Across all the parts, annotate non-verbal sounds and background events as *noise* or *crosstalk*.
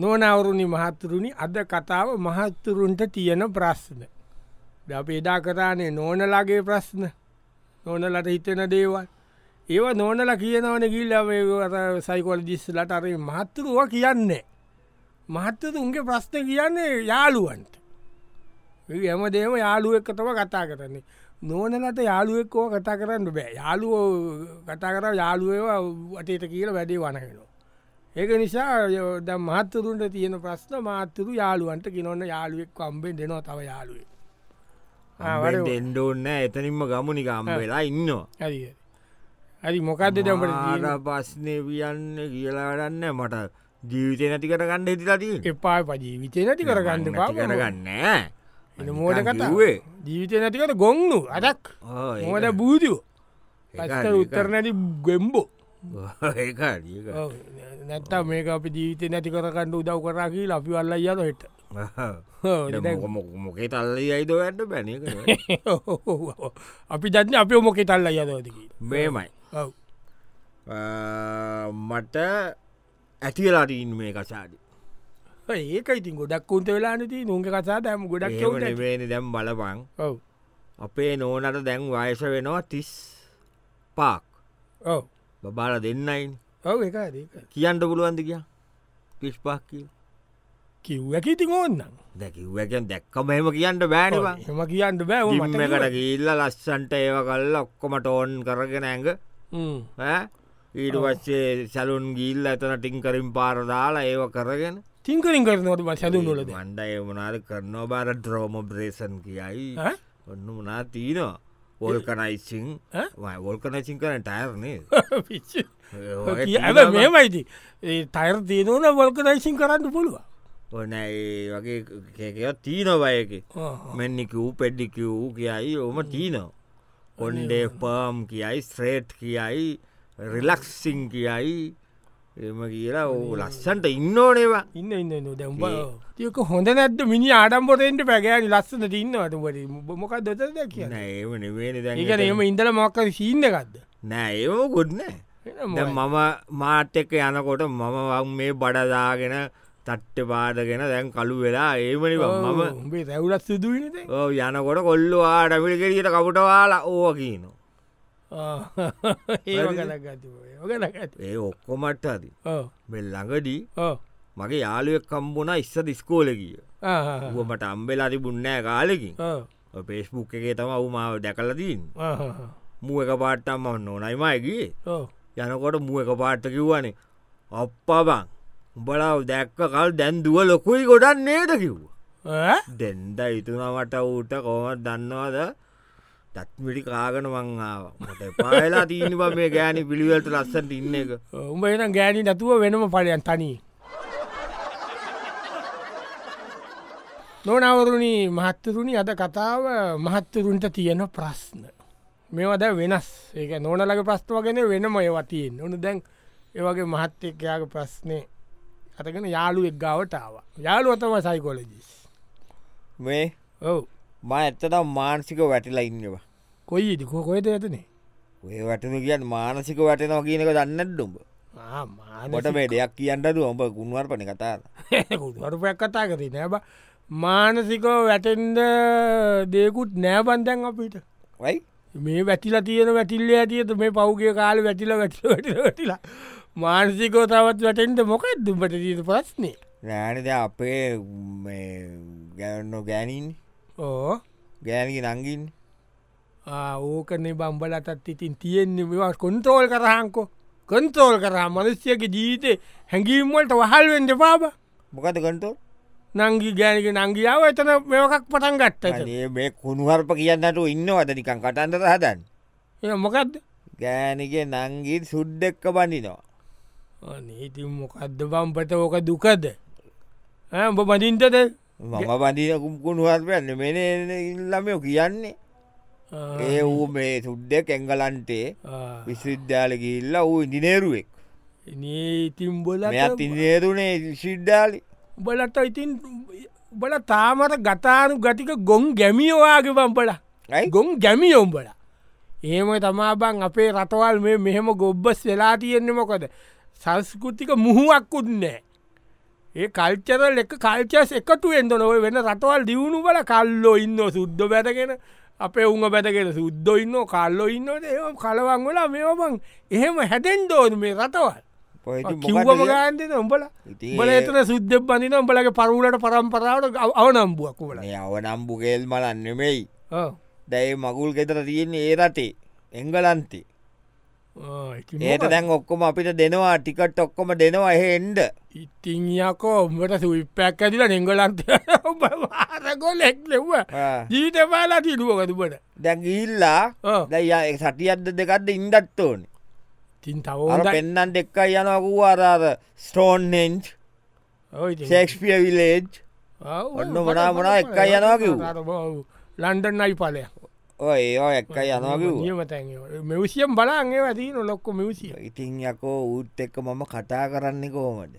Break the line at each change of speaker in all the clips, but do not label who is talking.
නෝනවුරුණි මහත්තුරුණි අද කතාව මහත්තුරුන්ට තියෙන ප්‍රශ්න. ද අප එදා කරානේ නෝනලගේ ප්‍රශ්න නෝනලට හිතෙන දේවල්. ඒව නෝනල කියනවන ගිල්ල සයිකොල් ජිස්සලට අර මහත්තුරුව කියන්නේ. මහත්තතුන්ගේ ප්‍රශ්න කියන්නේ යාළුවන්ට. ඇම දේම යාළුවෙක්කතම කතා කරන්නේ. නෝනලට යාළුවෙක්කෝ කතා කරන්න බෑ යාළුවෝ කතා කර යාළුවවා අටට කියල වැඩේ වනහෙනවා. ඒක නිසා ද මහත්තුරුන්ට තියෙන ප්‍රශ්න මාතතුරු යාළුවන්ට කිනොන්න යාළුවෙක් අම්බෙන් දෙනවා තව යාළුවේ. ආ, වැඩේ ඔ-
ඩෙන්ඩෝන්න එතනින්ම ගමුණිකම් වෙලා ඉන්නවා
හරි. හරි මොකක්ද
මාර
දට
පස්නය වියන්න කියලාරන්න මට ජීවිතය නැතිකට ගණ්ඩ හිතිලට
එපා පජී විතේ නැති කරගන්න පා
කරගන්න
මෝඩ කතා ජීවිතය නැතිකට ගොන්නු අදක් මොද බූජෝ පස්ට උත්තර නැති ගෙම්බෝ ඔව්. නැත්තම් මේක අපි ජීවිතය නැති කරකන්න උදව් කරකි ලපි වල්ල යන හෙට *laughs*
මොකේ තල්ලයි අයිද වැඩ බැන
අපි දන්න අපි මොකෙ තල්ල යදෝදකි
මේමයි
ඔව්
ආ, මට ඇතිලාට ඉන් මේ කසාද
ඒක ඉතින් ගොඩක් උන්ට වෙලානති නුන්ග කසා දැම ගොඩක් ඔව්
ඒවනි දැම් බලපං අපේ නෝනට දැන් වයස වෙනවා තිස් පාක්
ඔව්
බබාල දෙන්නයින්
ඔව් එක හරි, ඒක
කියන්ට පුළුවන්ද කිය තිස් පාක් කිය
කිව්වකි ඉතින් ඕන්නම්
දැකිවැකෙන් දැක්කම එහෙම කියන්නට බෑනවා
එම කියන්න බෑ ඔව් මට
ඉම්මකට
කිව්වා.
ගිල්ල ලස්සන්ට ඒව කල්ල ඔක්කොම ටෝන් කරගෙන ඇඟ
හ්ම්.
ඈ? ඊට පස්සේ සැලුන් ගිල්ල ඇතන ටිංකරින් පාරදාලා ඒව කරගෙන
තිංකරින් කරනවට බසැලු නොලද
මණ්ඩ ඒ මනාද කරනවා බාර ද්‍රෝම බ්‍රේසන් කියයි
ඈ?
ඔන්න මනා තිීනවා වොල්කනයිසිං
ඈ?
වොල්කනයිසිං කරන ටයරනේ
පිච්චි. කිය- හැබැයි මෙහෙමයිති ඒ තයිර තියනවන වල්කනයිසින් කරන්න පුළුව
ඔන්න ඒ වගේ කකත් තිීනවයක මෙන්නිකවූ පෙඩ්ඩිකවූ කියයි ඕම තිීනෝ ඔොන්ඩේ පර්ම් කියයි ස්ත්‍රේට් කියයි රිලක්සිං කියයි එම කියලා ඕ ලස්සන්ට ඉන්නෝනේවා
ඉන්න ඉන්න නො දැම්බ තියක හොඳ නැද්ද මිනි ආඩම්පොතෙන්ට පැගෑන් ලස්සන තින්නවට ට මොකක් දොතද කියන
නෑ ඒම නෙවේ
ඒක එම ඉඳල මොක්ක සිීන්නකක්ද
නෑ ඒම ගොඩ්නෑ දැන් මම මාට් එක යනකොට මම වං මේ බඩදාගෙන තට්ට පාදගෙන දැන් කළු වෙලා ඒමනි මම
උඹේ රැවුලත් සිදුවනද
ඔව් යනකොට කොල්ලු ආඩමිල් කෙරියට කපුටවාලා ඕව කියනවා
*laughs* ඒ
හරිද?
ගලගත ඕගලගත
ඒ ඔක්කොමට හරි මෙ ළඟදී
ඕ
මගේ යාළුවෙක් කම්බුණ ඉස්ස දිස්කෝලකිය උවමට අම්බෙල අරි බුන්නෑ කාලෙකින් පේස්බුක් එකේ තම උමාව දැකලදීන් මුව එක පාට්ටම් ම නොනයිමයගේ යනකොට මුව එක පාට්ට කිව්වනේ අප්පාබං උඹලාව දැක්ක කල් දැන් දුව ලොකුයි ගොඩන් නේද කිව්ව දෙන්ඩ ඉතුනමට ඌට කොමත් දන්නවාද තත්මිටි කාගන මංආාව මට පාලා තීනි බ මේ ගෑනි පිළිවලට ලස්සට ඉන්න එක
උඹ එනම් ගෑනී නැතුව වෙනම පලයන් තනී නොනවරුණි මහත්තරුණි අද කතාව මහත්තරුන්ට තියෙන ප්‍රශ්න මේවද වෙනස් ඒක නොනලගේ ප්‍රස්ථවගෙන වෙනම ඒවතියෙන් ඕනු දැන් ඒවගේ මහත්තකයාගේ ප්‍රශ්නය අතගෙන යාළුවෙක් ගාවටාව යාළුවතම සයිකෝලජිස්
මේ
ඔව
ම ඇත්තටම් මානසික වැටිලා ඉන්නවා
කොයි ඉදිකෝ කොයද ඇතනේ
ඔය වැටන කියන් මානසික වැටනවා කියනක දන්නඩුම්ඹ
මානට
ොට මේ දෙයක් කියන්නට ඔඹ ගුණුවර් පණ කතාර
ගොඩුවරපයක් කතා කරේ නැබ මානසිකෝ වැටෙන්ද දෙකුත් නෑබන්දැන් අපිට
වයි
මේ වැටිලා තියෙන වැටිල්ල ඇතියත මේ පෞගේ කාල වැටිල වැට වැටිලා මානසිකෝ තවත් වැටෙන්ට මොකක් දුම්ට තීර ප්‍රශ්නය
නෑනද අපේ ගැන්නෝ ගෑනින්
ඕ
ගෑනක නංගින්
ආ, ඕකනේ බම්බලටත් ඉතින් තියෙන්නේ මෙවා කොන්තෝල් කරහන්කෝ කොන්තෝල් කරා මනුස්්‍යයගේ ජීවිතය හැඟීම්වලට වහල්වෙන්ඩ පාබ
මොකද කටෝ
නංගි ගෑනක නංගියාව එතන මෙවකක් පටන් ගත්ත ඇතන.
මේ කුණුහර්ප කියන්නට ඉන්නවදනිකන් කටන්ට හදන්
ඒ මොකක්ද
ගෑනක නංගින් සුද්දෙක්ක බඳිනවා
නීති මොකක්ද බම්පට ඕක දුකද ඈ, උඹ බඳින්ටද
මම බඳිනකුම් කුණුහර්පයන්න මෙන ඉල්ලමයෝ කියන්නේ ඒ වූ මේ සුද්දෙක් එංගලන්ටේ විශ්විද්‍යාල ගිල්ල වූ ඉදිනේරුවෙක්
නීතිම් බොල
මෙත් ඉදිනේරුනේ ශිද්ධාලි
බලට ඉතින් බල තාමට ගතානු ගටික ගොන් ගැමියවාගේ බම්පල
ඇයි?
ගොන් ගැමියෝම්බල ඒම තමා බං අපේ රටවල් මේ මෙහෙම ගොබ්බස් වෙලා තියෙන්නේ මොකද සංස්කෘතික මුහුවක්කුත් නෑ ඒ කල්චරල් එක කල්චස් එකතු එන්න නොව වෙන රටවල් දියුණු බල කල්ලෝ ඉන්න සුද්ද බැතගෙන අපේ උන් බැතගෙන සුද්ද ඉන්න කල්ලෝ ඉන්නට ඒ කලවන් වෙලා මේබං එහෙම හැටෙන් දෝන මේ රටවල් කිව්වම ගාන්ද උඹල බල එතන සුද්ද බඳන උඹලගේ පරුලට පරම්පරාවට අවනම්බුවක් වල
අවනම්බුගේල් මලන්නෙමෙයි දැයි මගුල් ගෙතර තියෙන්නේ ඒ රටේ එංගලන්තේ ඒට දැන් ඔක්කොම අපිට දෙනවා ටිකට් ඔක්කොම දෙනවා එහෙන්ඩ
ඉතිංයකෝ උඹට සුවිප්පයක් ඇතිල නිංගලන්ත වාරගොල් එක් ලෙව්ව ජීත පාලා තිරුවකතුබට
දැන් ඉල්ලා දැයි සටියද්ද දෙකක්ද ඉන්ඩත් ඕනේ පෙන්නන් දෙක්ක යනකූ අරාර ස්ටෝන්නෙන්් සෙක්ස්පිය විලේජ් ඔන්න වනා මොනා එක්ක යනකිව්
ලන්ඩන් අයි පලය
ඒවා එක්ක
යනකිව් මෙවසියම් බලාගේ වැදී නොලොක්කො මෙවසිය
ඉතින් යකෝ ඌත් එක්ක මම කතා කරන්නේ කෝමට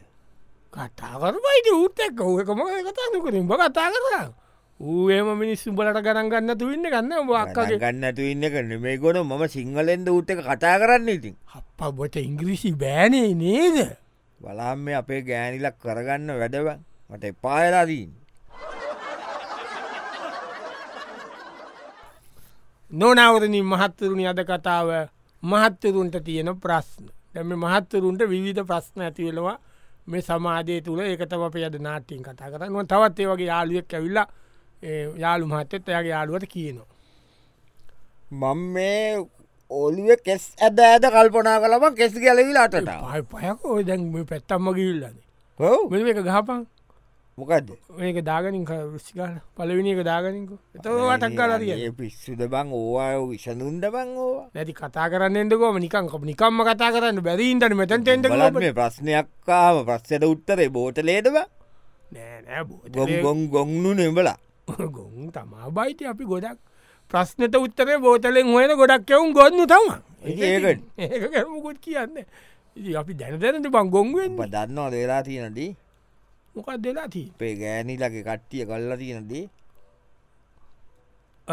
කතාකරමයිට ඌත් එක්ක ඕකම කතාන්න කරින් බ කතා කරලා ඌේම මිනිස්සු බලට ගණන් ගන්න තුඉන්න ගන්න
වාක්කගේ ගන්නතු ඉන්න කන මේ ගොන මම සිංහලෙන්ද උත්ත කතා කරන්න ඉතින්
අප බොට ඉංග්‍රීසි බෑනේ නේද
බලාම් මේ අපේ ගෑනිලක් කරගන්න වැඩව මට එපායලාදීන්
නොනවරණින් මහත්තරුණි අද කතාව මහත්තරුන්ට තියෙන ප්‍රශ්න දැම මහත්තරුන්ට විවිධ ප්‍රශ්න ඇතිවෙලවා මේ සමාජය තුළ ඒකතම පයද නාටීන් කතා කරන්න තවත් ඒ වගේ යාලුවක් ඇවිල්ලා යාළු මහත්තත් එයාගේ යාළුවට කියනවා.
මං මේ ඔලිය කෙස් ඇද ඇද කල්පනා කලම කෙස් ගැලවිලාට
පය පයක ඔය දැන් මේ පැත්තම්ම කිවිල්ලන්නේ මෙ එක ගහපන්
මොකක්ද
ඒක දාගනින් ෘෂ්ිකාල පලවිනි එක දාගනින්ක එතවටක් කලරිය
පිස්සුද බං ඕවා විසඳුන්ද බං ඕවා
නැති කතා කරන්නකොම නිකං කප නිකම්ම කතා කරන්න බැරීන්ටන මෙතැන් ටෙන්ට
ලේ ප්‍රශ්නයක්කාම ප්‍රශ්යට උත්තරේ බෝට ලේදවා
නෑ
ගොම් ගොම් ගොන්නු නෙම්බලා
ගොන් තමා බයිති අපි ගොඩක් ප්‍රශ්නත උත්තරේ බෝතලෙන් හොයන ගොඩක් එවුම් ගොන්න තම
ඒකොත්
කියන්න අපි දැනදැනට බං ගොන්ුවෙන්
දන්නවා දෙලා තියෙනදී
මොකක් දෙලාති
පේ ගෑනිලගේ කට්ටිය කල්ලා තියෙනදී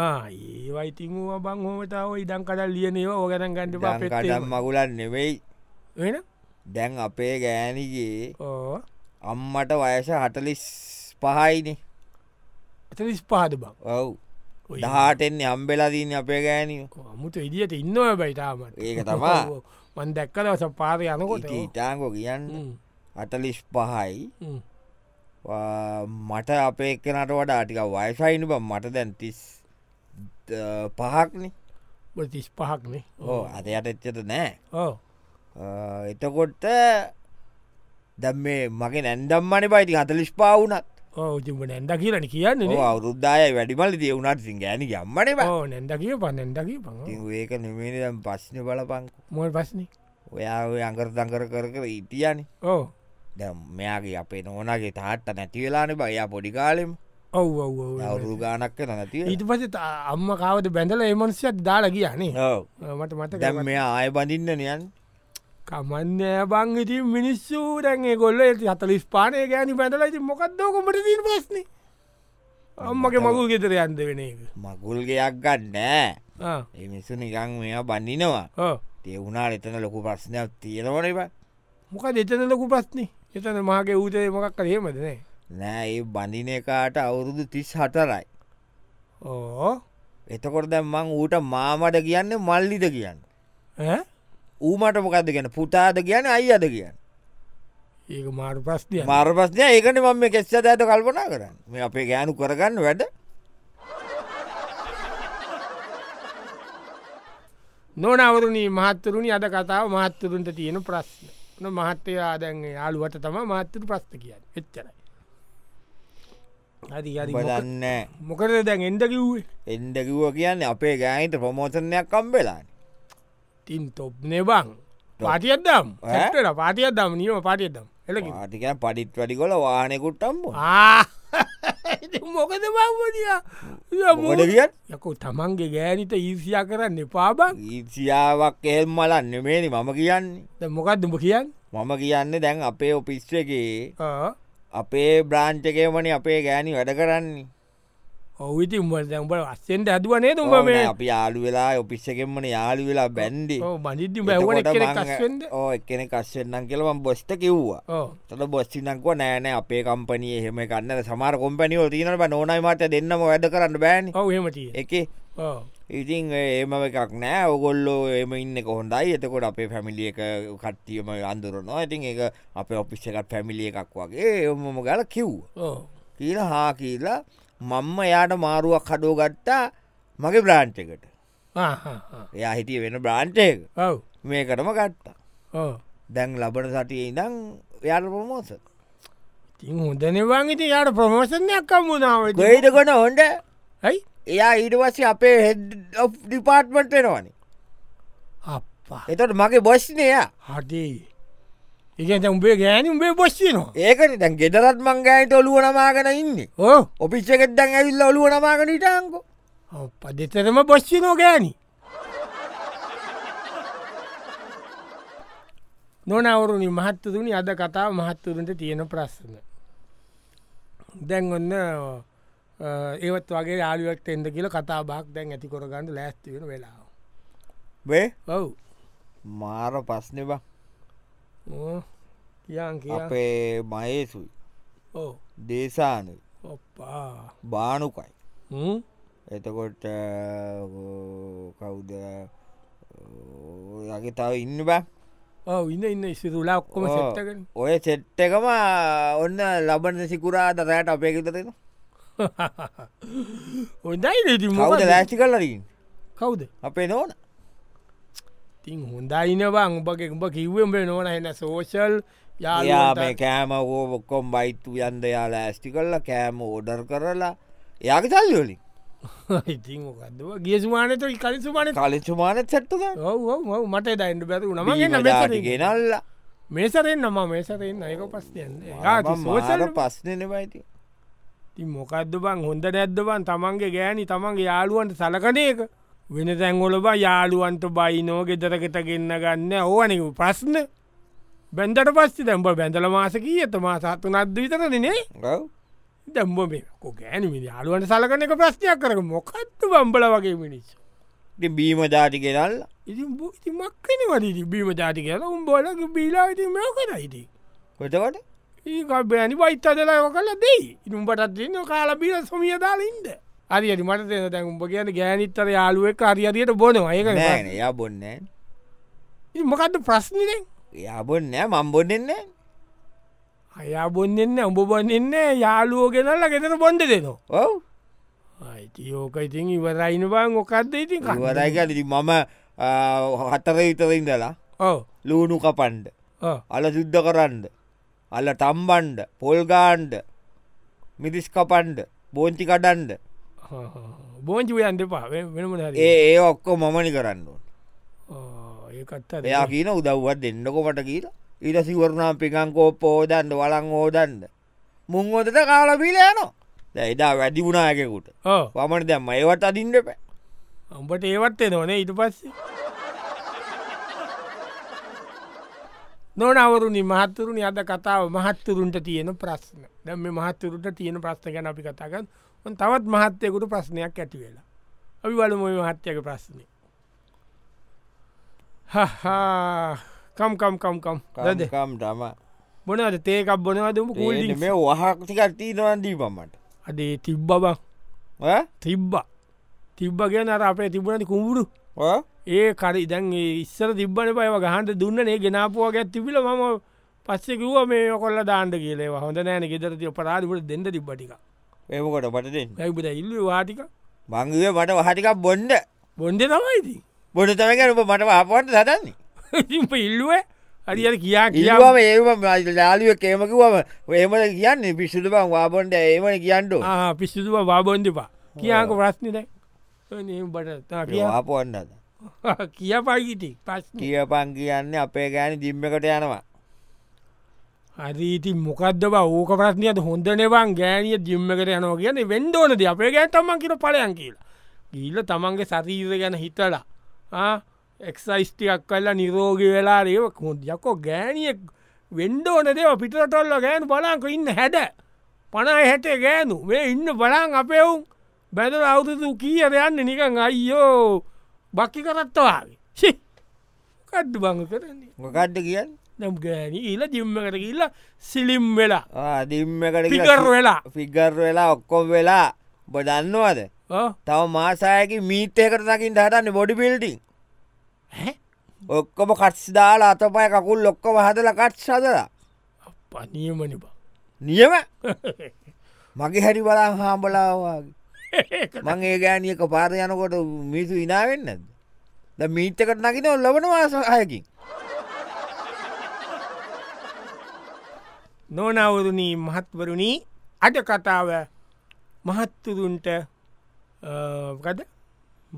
ඒවයිතිම බං හෝමතාව ඉඩන් කඩල් ලියනවා ඕගැන ගන්නඩ
කඩම් මගුලන් නෙවෙයි
වෙන
දැන් අපේ ගෑනිගේ
ඕ
අම්මට වයස හටලිස් පහයිනේ
ඇතලිස් පහද බක්
ඔව් දහටෙන්නේ අම්බෙලාදීන්න අපේ ගෑනිය
මුට ඉදිට ඉන්නව බයිතාම
ඒක තමා
මන් දැක්කල සපාර යනකොට
ඉටාකෝ කියන්න අටලිස් පහයි මට අපේ එක්කනට වඩා ටික වයසයිනු බ මට දැන් තිස් පහක්නේ
තිස් පහක්නේ
ඕ අද යට එච්චට නෑ
ඕ
එතකොට දැම් මේ මගේ නැන්දම්මන පයිති හතලිස් පාවුනත්
ඕජම නැද කියලන කියන්න
අවරුද්දාය වැඩිමල දිය වුණට සිංහෑන ගම්මන
නැද කිය පන්නැද කිය ප
ඒක නමේදම් පශ්න බලපංකු
මොල් පස්න
ඔයා අඟර දංකර කර කර ඉතියන
ඕ
දැම් මෙයාගේ අපේ නෝනගේ තාට්ට නැතිවෙලාන බයා පොඩිකාලෙම
ඔව
අවරු ගානක්ක නැති
oh, ඊට පස අම්ම කාවට බැඳල එමන්සියක් දාලා කියන්නේ මට මත
දැම් මෙයා ආය බඳින්න නියන්
කමන්න බං ඉති මිනිස්සු දැන්ගේ ගොල්ල ඇති හතලිස් පානය ගෑනි පැඳල ඉති මොකක්දෝකොමට දී පස්න අම්මගේ මගුල් ගෙතර යන්ද වෙන එක
මගුල්ගයක් ගන්නෑ එමිසු නිකං මෙයා බඳිනවා තෙවුණා එතන ලොකු ප්‍රශ්නයක් තියෙනවනබ
මොක දෙතන ලොකු ප්‍රශ්නි එතන මගේ ඌතේ මොකක් කරීමදනේ
නෑ ඒ බඳිනකාට අවුරුදු තිස් හටරයි
ඕ
එතකොට දැම් මං ඌට මාමට කියන්න මල්ලිද කියන්න
ඇ?
ඌමට මොකක්ද ගැන පුතාද කියන අයි අද කියන්න
ඒක මාරු ප්‍රස්තිය
මාර පස්නය ඒකන මම කෙස්සට ඇත කල්පනා කරන්න මේ අපේ ගෑනු කරගන්න වැඩ
නොනවරුණී මහත්තරුණි අද කතාව මහත්තරුන්ට තියෙන ප්‍රශ්න න මහත්තය ආදැන් යාලුවට තම මහත්තරු ප්‍රස්ථ කියන්න එච්චරයි හරි
බලන්න
මොකද දැන් එන්ඩ කිව්වේ
එන්ඩ කිව්ව කියන්නේ අපේ ගෑනට ප්‍රමෝසනයක් කම්බෙලාන්න
තින් තොප් නෙබං පාටියත්දම් ඇට පාටියත්දම් නියම පාටියත්දම් එල
ආටික පඩිත් වැඩිකොල වානෙකුට්ටම්බ
*laughs* මොකද
මොකද
බවඩිය
කියන්න?
යකු තමන්ගේ ගෑනිත ඊසියා කරන්න එපාබං
ඊසියාවක් එල් මලන්න මේනි මම කියන්නේ
ද මොකක් දුම කියන්න
මම කියන්නේ දැන් අපේ ඔපිස්්‍රගේ
ආ.
අපේ බ්‍රාං්චකයමන අපේ ගෑනි වැඩ කරන්නේ
ඔවිති උඹ දැම්බ අස්සෙන්ට ඇදුවනේ තුඹ මේ
අපි යාලු වෙලා ඔපිස්සකෙන්මන යාලු වෙලා බැන්්ඩි
බනිද්දි බැවන කස්සෙන්ද
ඕ එකන කස්සෙන්න්නම් කෙලවන් බොස්්ට කිව්වා
ඕ
තොට බොස්්ටිනංකව නෑනෑ අපේ කම්පනය එහෙම කන්න සමාර කොම්පැනිියෝ තිීනට නෝනයි මට දෙන්නම වැඩ කරන්න බෑන්
ඔව හෙමටිය
එක ඉතින් ඒම එකක් නෑ ඔගොල්ලෝ එම ඉන්න කොහොඳයි එතකොට අපේ පැමිලිය එක කට්ටියම අන්දුරනවා ඉතින් එක අප ඔපිස්ස එකත් පැමිලිය එකක් වගේ එමම ගල කිව් කියල හා කියලා මංම එයාට මාරුවක් හඩෝ ගත්තා මගේ බ්‍රාන්ට් එකට එයා හිටිය වෙන බ්‍රාන්ට්ක
ඔව
මේකටම ගත්තා
ඕ
දැන් ලබන සටිය ඉදං එයාට පොමෝස
ඉතින් හොදනවාන් ඉති යාට ප්‍රමෝෂණයක් කම්මුණාවට
ගොයිට කොට හොන්ඩ
ඇයි
එයා ඊටවස්ස අපේ හෙඩ් ඩිපාර්ට්මට වෙනවානේ
අප්පා
එතට මගේ බොස්්නයා
හටේ ඒකත උඹේ ගෑන උඹේ පොස්්චනවා
ඒකට දැන් ගෙදරත් මංගෑයට ඔලුව නමාගෙන ඉන්න
ඕ
ඔපිච්චකෙත් දැන් ඇවිල්ල ඔලුව නමාගෙන ඉටාංකෝ
අප දෙතරම පොස්්චනෝ ගෑනි නොනවරුණි මහත්තතුනි අද කතා මහත්තුරන්ට තියෙන ප්‍රශ්න දැන් ඔන්න ඒවත් වගේ යාලුවක් එෙන්ද කියල කතා බාක් දැන් ඇති කොරගන්න ලෑස්තිවෙන වෙලාව
වේ
ඔව්
මාර පස්නවා
ඕ. කියන් කිය
අපේ මයේසුයි
ඕ
දේශාන
ඔප්පා
බානුකයි
හ්ම්?
එතකොට කවුද යගේ තව ඉන්න බෑ
ඔව් ඉන්න ඉන්න ඉසිරුලා ඔක්කොම
ඔව්.
*laughs* සෙත්තකෙන
ඔය සෙට්ට එකම ඔන්න ලබන සිකුරා දරයට අපේ එකතරෙන
හොඳයි රෙදි
මවද ලෑස්ටි කල්ලරින්
කවුද
අපේ නෝන
තින් හොඳයිනවා උඹගේ උඹ කිව්වෙන් බේ නොන එන්න සෝෂල්
යා
යාලයා
මේ කෑම හෝ ඔක්කොම් බයිතු යන්ද යාල ඇස්ටි කල්ලා කෑම ඕඩර් කරලා එයාගේ සල්ලෝලින්
ඉතින් මොකක්දව ගිය සුමානත කලින් සුමාන
කලින් සුමානත් සැට්ටද
ඔව මට දයින්න බැතු නම
ගෙනල්ල
මේසරෙන් නම මේසරෙන් අයක පස් යන්න සෝෂල්
මාර පස්නන බයිති
ති මොකක්ද බං හොඳ නැද්දවන් තමන්ගේ ගෑනි තමන්ගේ යාළුවන්ට සලකනයක වෙන තැංගොලබ යාළුවන්ට බයිනෝ ගෙදරකට ගන්න ගන්න ඕවන ප්‍රශ්න බැන්දට පස්ති දැම්බ බැඳල මාසකී ඇතමා සත්තු නද්ද විතරනනේ
ගව්
දැම්බ මේකෝ ගෑනමි යාළුවන්ට සලකන එක ප්‍රශ්නයක් කරක මොකත්තු බම්බල වගේ මිනිස්
ඉතින් බීම ජාටි ගෙනල්ල
ඉතින් බෝ- ඉතින් මක්කන වදී බීම ජාති කියල උම්බලක බීලාවිති මෙෝ කරයිති
කොටකට
ඒ බෑනි වයිත්තදලා කල දෙයි ඉනුම්පටත් දෙන්න කාලබිල සොමිය දාලින්ද අරි අරි මට දෙන තැන් උඹ කියන ගෑනිත්තර යාලුවක් අරි අරියට බොනවා ඒක
නෑන එයා බොන්න
මොකක්ද ප්‍රශ්නිරෙන්
එයා බොන්න මම් බොන්නන්න
අයා බොන්නෙන්න උඹ බොන්නෙන්න යාලුවෝ ගෙනල්ලා ගෙතර බොන්ඩ දෙනවා
ඔව
අයිතියෝක ඉතින් ඉවරයින බං ඔකක්ද ඉතින්
වරයිකලති මම හතර විතරින්දලා
ඕ
ලූුණු කපන්ඩ අල සුද්ධ කරන්න අල්ල තම්බන්ඩ පොල්ගාන්්ඩ මිරිස් කපන්ඩ බෝංචි කඩන්ඩ
බෝංචිවයන්ට පා වෙනම හරි
ඒ ඒ ඔක්කෝ මමනි කරන්න ඕන.
ඒකත්
එයා කියන උදව්වත් දෙන්නකොමට කියලා ඊට සිවරණා පිකංකෝ පෝදන්ඩ වලං හෝදන්ඩ මුං හොතට කාලපීලයනවා දැයිදා වැඩි වුණායකෙකුට
ඕ
පමණ දැම්ම ඒවත් අදින්ට පැ
උඹට ඒවත් නොනේ ඉට පස්සේ නොනවරුණනි මහත්තුරුණනි අද කතාව මහත්තුරුන්ට තියෙන ප්‍රශ්න දැම මහත්තුරුට තියෙන ප්‍රශ්න ගැන අපි කතාගන්න ඔන් තවත් මහත්තයකුට ප්‍රශ්නයක් ඇති වෙලා අපි වලමොයි මහත්තයක ප්‍රශ්නය කම්කම්කම්කම් දද
කම් තම
බොනද තේකක් බොනවදම කූල්ලි
මේ වහක්තිකටීනවන්දී පමට
අදේ තිබ්බ බං තිබ්බ තිබ්බ ගැන අර අපේ තිබුණති කුඹුරු ඒ කරි දැන් ඒ ඉස්සර තිබ්බන පයව ගහන්ට දුන්නනේ ගෙනාපුුවක් ඇත් තිබිල මම පස්සෙකුව මේ කොල්ල දාන්ට කියලේ හොඳ නෑන ගෙදරති පරාධිපට දෙන්න තිබ්බටික
එමකොට පටදෙන්
ඇයිපට ඉල්ල වාටික
බංගුව මට වහටිකක් බොන්්ඩ
බොන්ඩ තමයිති *laughs*
බොඩ තමකර මට ආපට සතන්නේ
ඉප ඉල්ලුව අරියට කියා කියාව
ඉල්වාම ඒම ලාලිය කේමකිවම ඒමට කියන්න පිස්සුතු බං වාබොන්ඩ ඒමන කියන්නට
පිස්සිතුව බාබොන්ධපා කියාක ප්‍රශ්නට බට
වාපොන්නද
*laughs* කිය පයිගිටි පස්්න
කියපන් කියන්න අපේ ගෑන දිම්මකට යනවා
අරීති මොකක්ද බ ඕක ප්‍රශ්නයද හොඳ නෙවන් ගෑනිය ජිම්මකට යනෝ කියන වෙන්ඩෝනද අපේ ගෑ තමන් කියට පලයන් කියලා. ගීල තමන්ගේ සරීර ගැන හිතලා එක්සයිස්ටියක් කල්ලා නිරෝග වෙලා ඒව කොදයක්කෝ ගෑනියෙක් වෙන්ඩෝන දේව පිටරටොල්ල ගෑන් බලාක ඉන්න හැඩ පනයි හැටේ ගෑනු මේ ඉන්න බලාන් අපෙවුම් බැදර අවුරුදුන් කියර යන්න නිකං අයියෝ බක්කි කරත්තවාගේ කඩ්ඩු බං කරන්නේ
මොකක්ද කියන්න
නම් ගෑනී ඊල ජිම්මකට කියල්ල සිලිම් වෙලා
දිම්මකට
පිකර වෙලා
ෆිගර් වෙලා ඔක්කොම් වෙලා බොදන්නවාද
ඔව්.
තව මාසායකි මීතයකට දකිින් හටන්න බොඩි පිල්ටිං
ඈ?
ඔක්කොම කට්ස්දාලා අතපය කකුල් ලොක්කොම හදල කට්ස් හදලා
පනියමනි බං
නියම මගේ හැරි බලා හාම්බලාවාගේ මං ඒ ගෑනියක පාර යනකොට මිසු ඉනාවෙන්න ඇද ද මීත්තකට නකින ඔල්ලබන වාසහයකින්
නොනවරුණී මහත්වරුණී අද කතාව මහත්තුරුන්ට ගද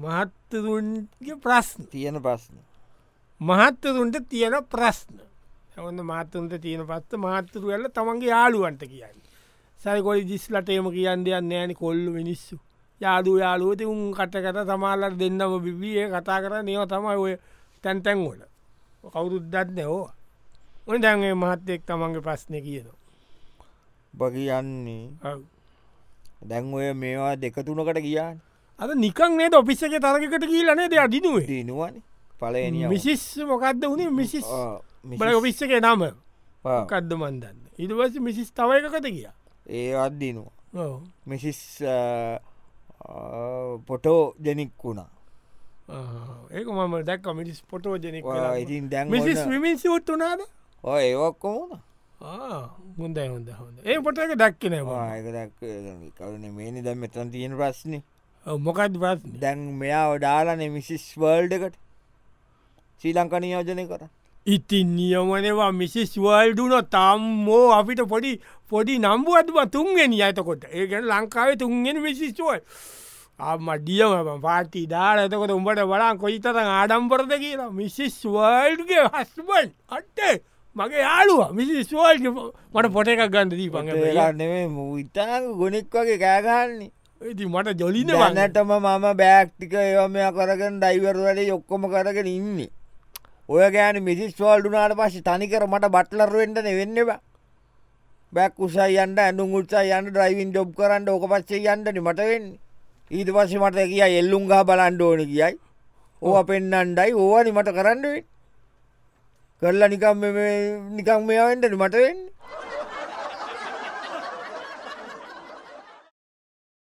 මහත්තරුන්ගේ ප්‍රශ්න
තියෙන ප්‍රශ්න
මහත්තරුන්ට තියෙන ප්‍රශ්න ඇවන්න මාතතුන්ට තියෙන පත්ත මාතතුරු වෙල්ල තමන්ගේ යාළුවන්ට කියන්න සැකොලි ජිස්ලටේම කියන්න දෙයන්න ෑන කොල්ලු මිනිස්සු යාදු යාලුවති උන් කටකට තමාල්ලට දෙන්නම බිබිය කතා කර නව තමයි ඔය තැන්තැන් වල කවුරුද්දත් නැහෝ ඔන දැන්ගේ මහත්තෙක් තමන්ගේ ප්‍රශ්නය කියනවා
බගියන්නේ
ඔව්.
දැන් ඔය මේවා දෙකතුනකට ගියාන්
අද නිකන් නේද ඔපිස්සක තරකට කියලනේ දෙ අදිනුවේ
දීනුවන පලනිය
මිසිස් මොකක්ද වනේ මිසිස් බල ඔපිස්සක නම කද්ද මන්දන්න ඉදවස මිසිස් තවයකත කිය
ඒ අත්දිනවා මිසිස් පොටෝ ජෙනික් වුණා
ඒක මම දැක් මිනිස් පොටෝජනෙක්
ඔය ඉතින් දැන්
මිසිස්
ඔන්න-
විමින් සිවුත් වනාද
ඔය ඒවක්කොමුණ
හොඳයි හොඳ හොඳ ඒ පොට එක දැක්කනවා
ආයකදක් කරන මේනි දැම් මෙතන් තියෙන ප්‍රශ්නි
මොකත් බත්
දැන් මෙයා ඔඩාලන මිසිස් වර්ල්ඩකට ශ්‍රී ලංකන යෝජනය කර
ඉතින් නියමනවා මිසිස් වල්ඩුන තම්මෝ අපිට පොඩි පොඩි නම්බුවත්ම තුන්ගෙන අතකොට ඒකන ලංකාවේ තුන්ගෙන විශිස්ුවයි අම ඩියම පාටි දාර එතකොට උඹට බලන් කොයිතර ආඩම්පරද කියලා මිසිස් වල්ඩගේ හස්බන් අට්ටේ මගේ යාලුව මිසිස්වල් මට පොට එකක් ගන්ද දී පඟ
නෙේ මුවිතනක ගොනෙක් වගේ කෑගන්නේ
ඉති මට ජොලින වන්නට
දැනටම මම බෑක්ටික ඒවම කරගෙන ඩයිවර්වල යොක්කොම කරගෙන ඉන්න ඔය ගෑන මිසිස් වල්ඩුනාට පස්සේ තනිකර මට බට්ලරුවෙන්ටන වෙන්නවා බැක් උසයි යන්ට ඇඳු උත්සා යන්න ඩ්‍රයිවින් ජොබ් කරන්න ඕක පස්සේ යන්ටන මට වෙන්න ඊට පස්සේ මට කිය එල්ලුම්ගා බලන්ඩ ඕන කියයි ඕ පෙන්න්නන්ඩයි ඕවනි මට කරන්නවෙන් කරලා නිකම් නිකම් මෙයාවෙන්ටන මට වෙන්නේ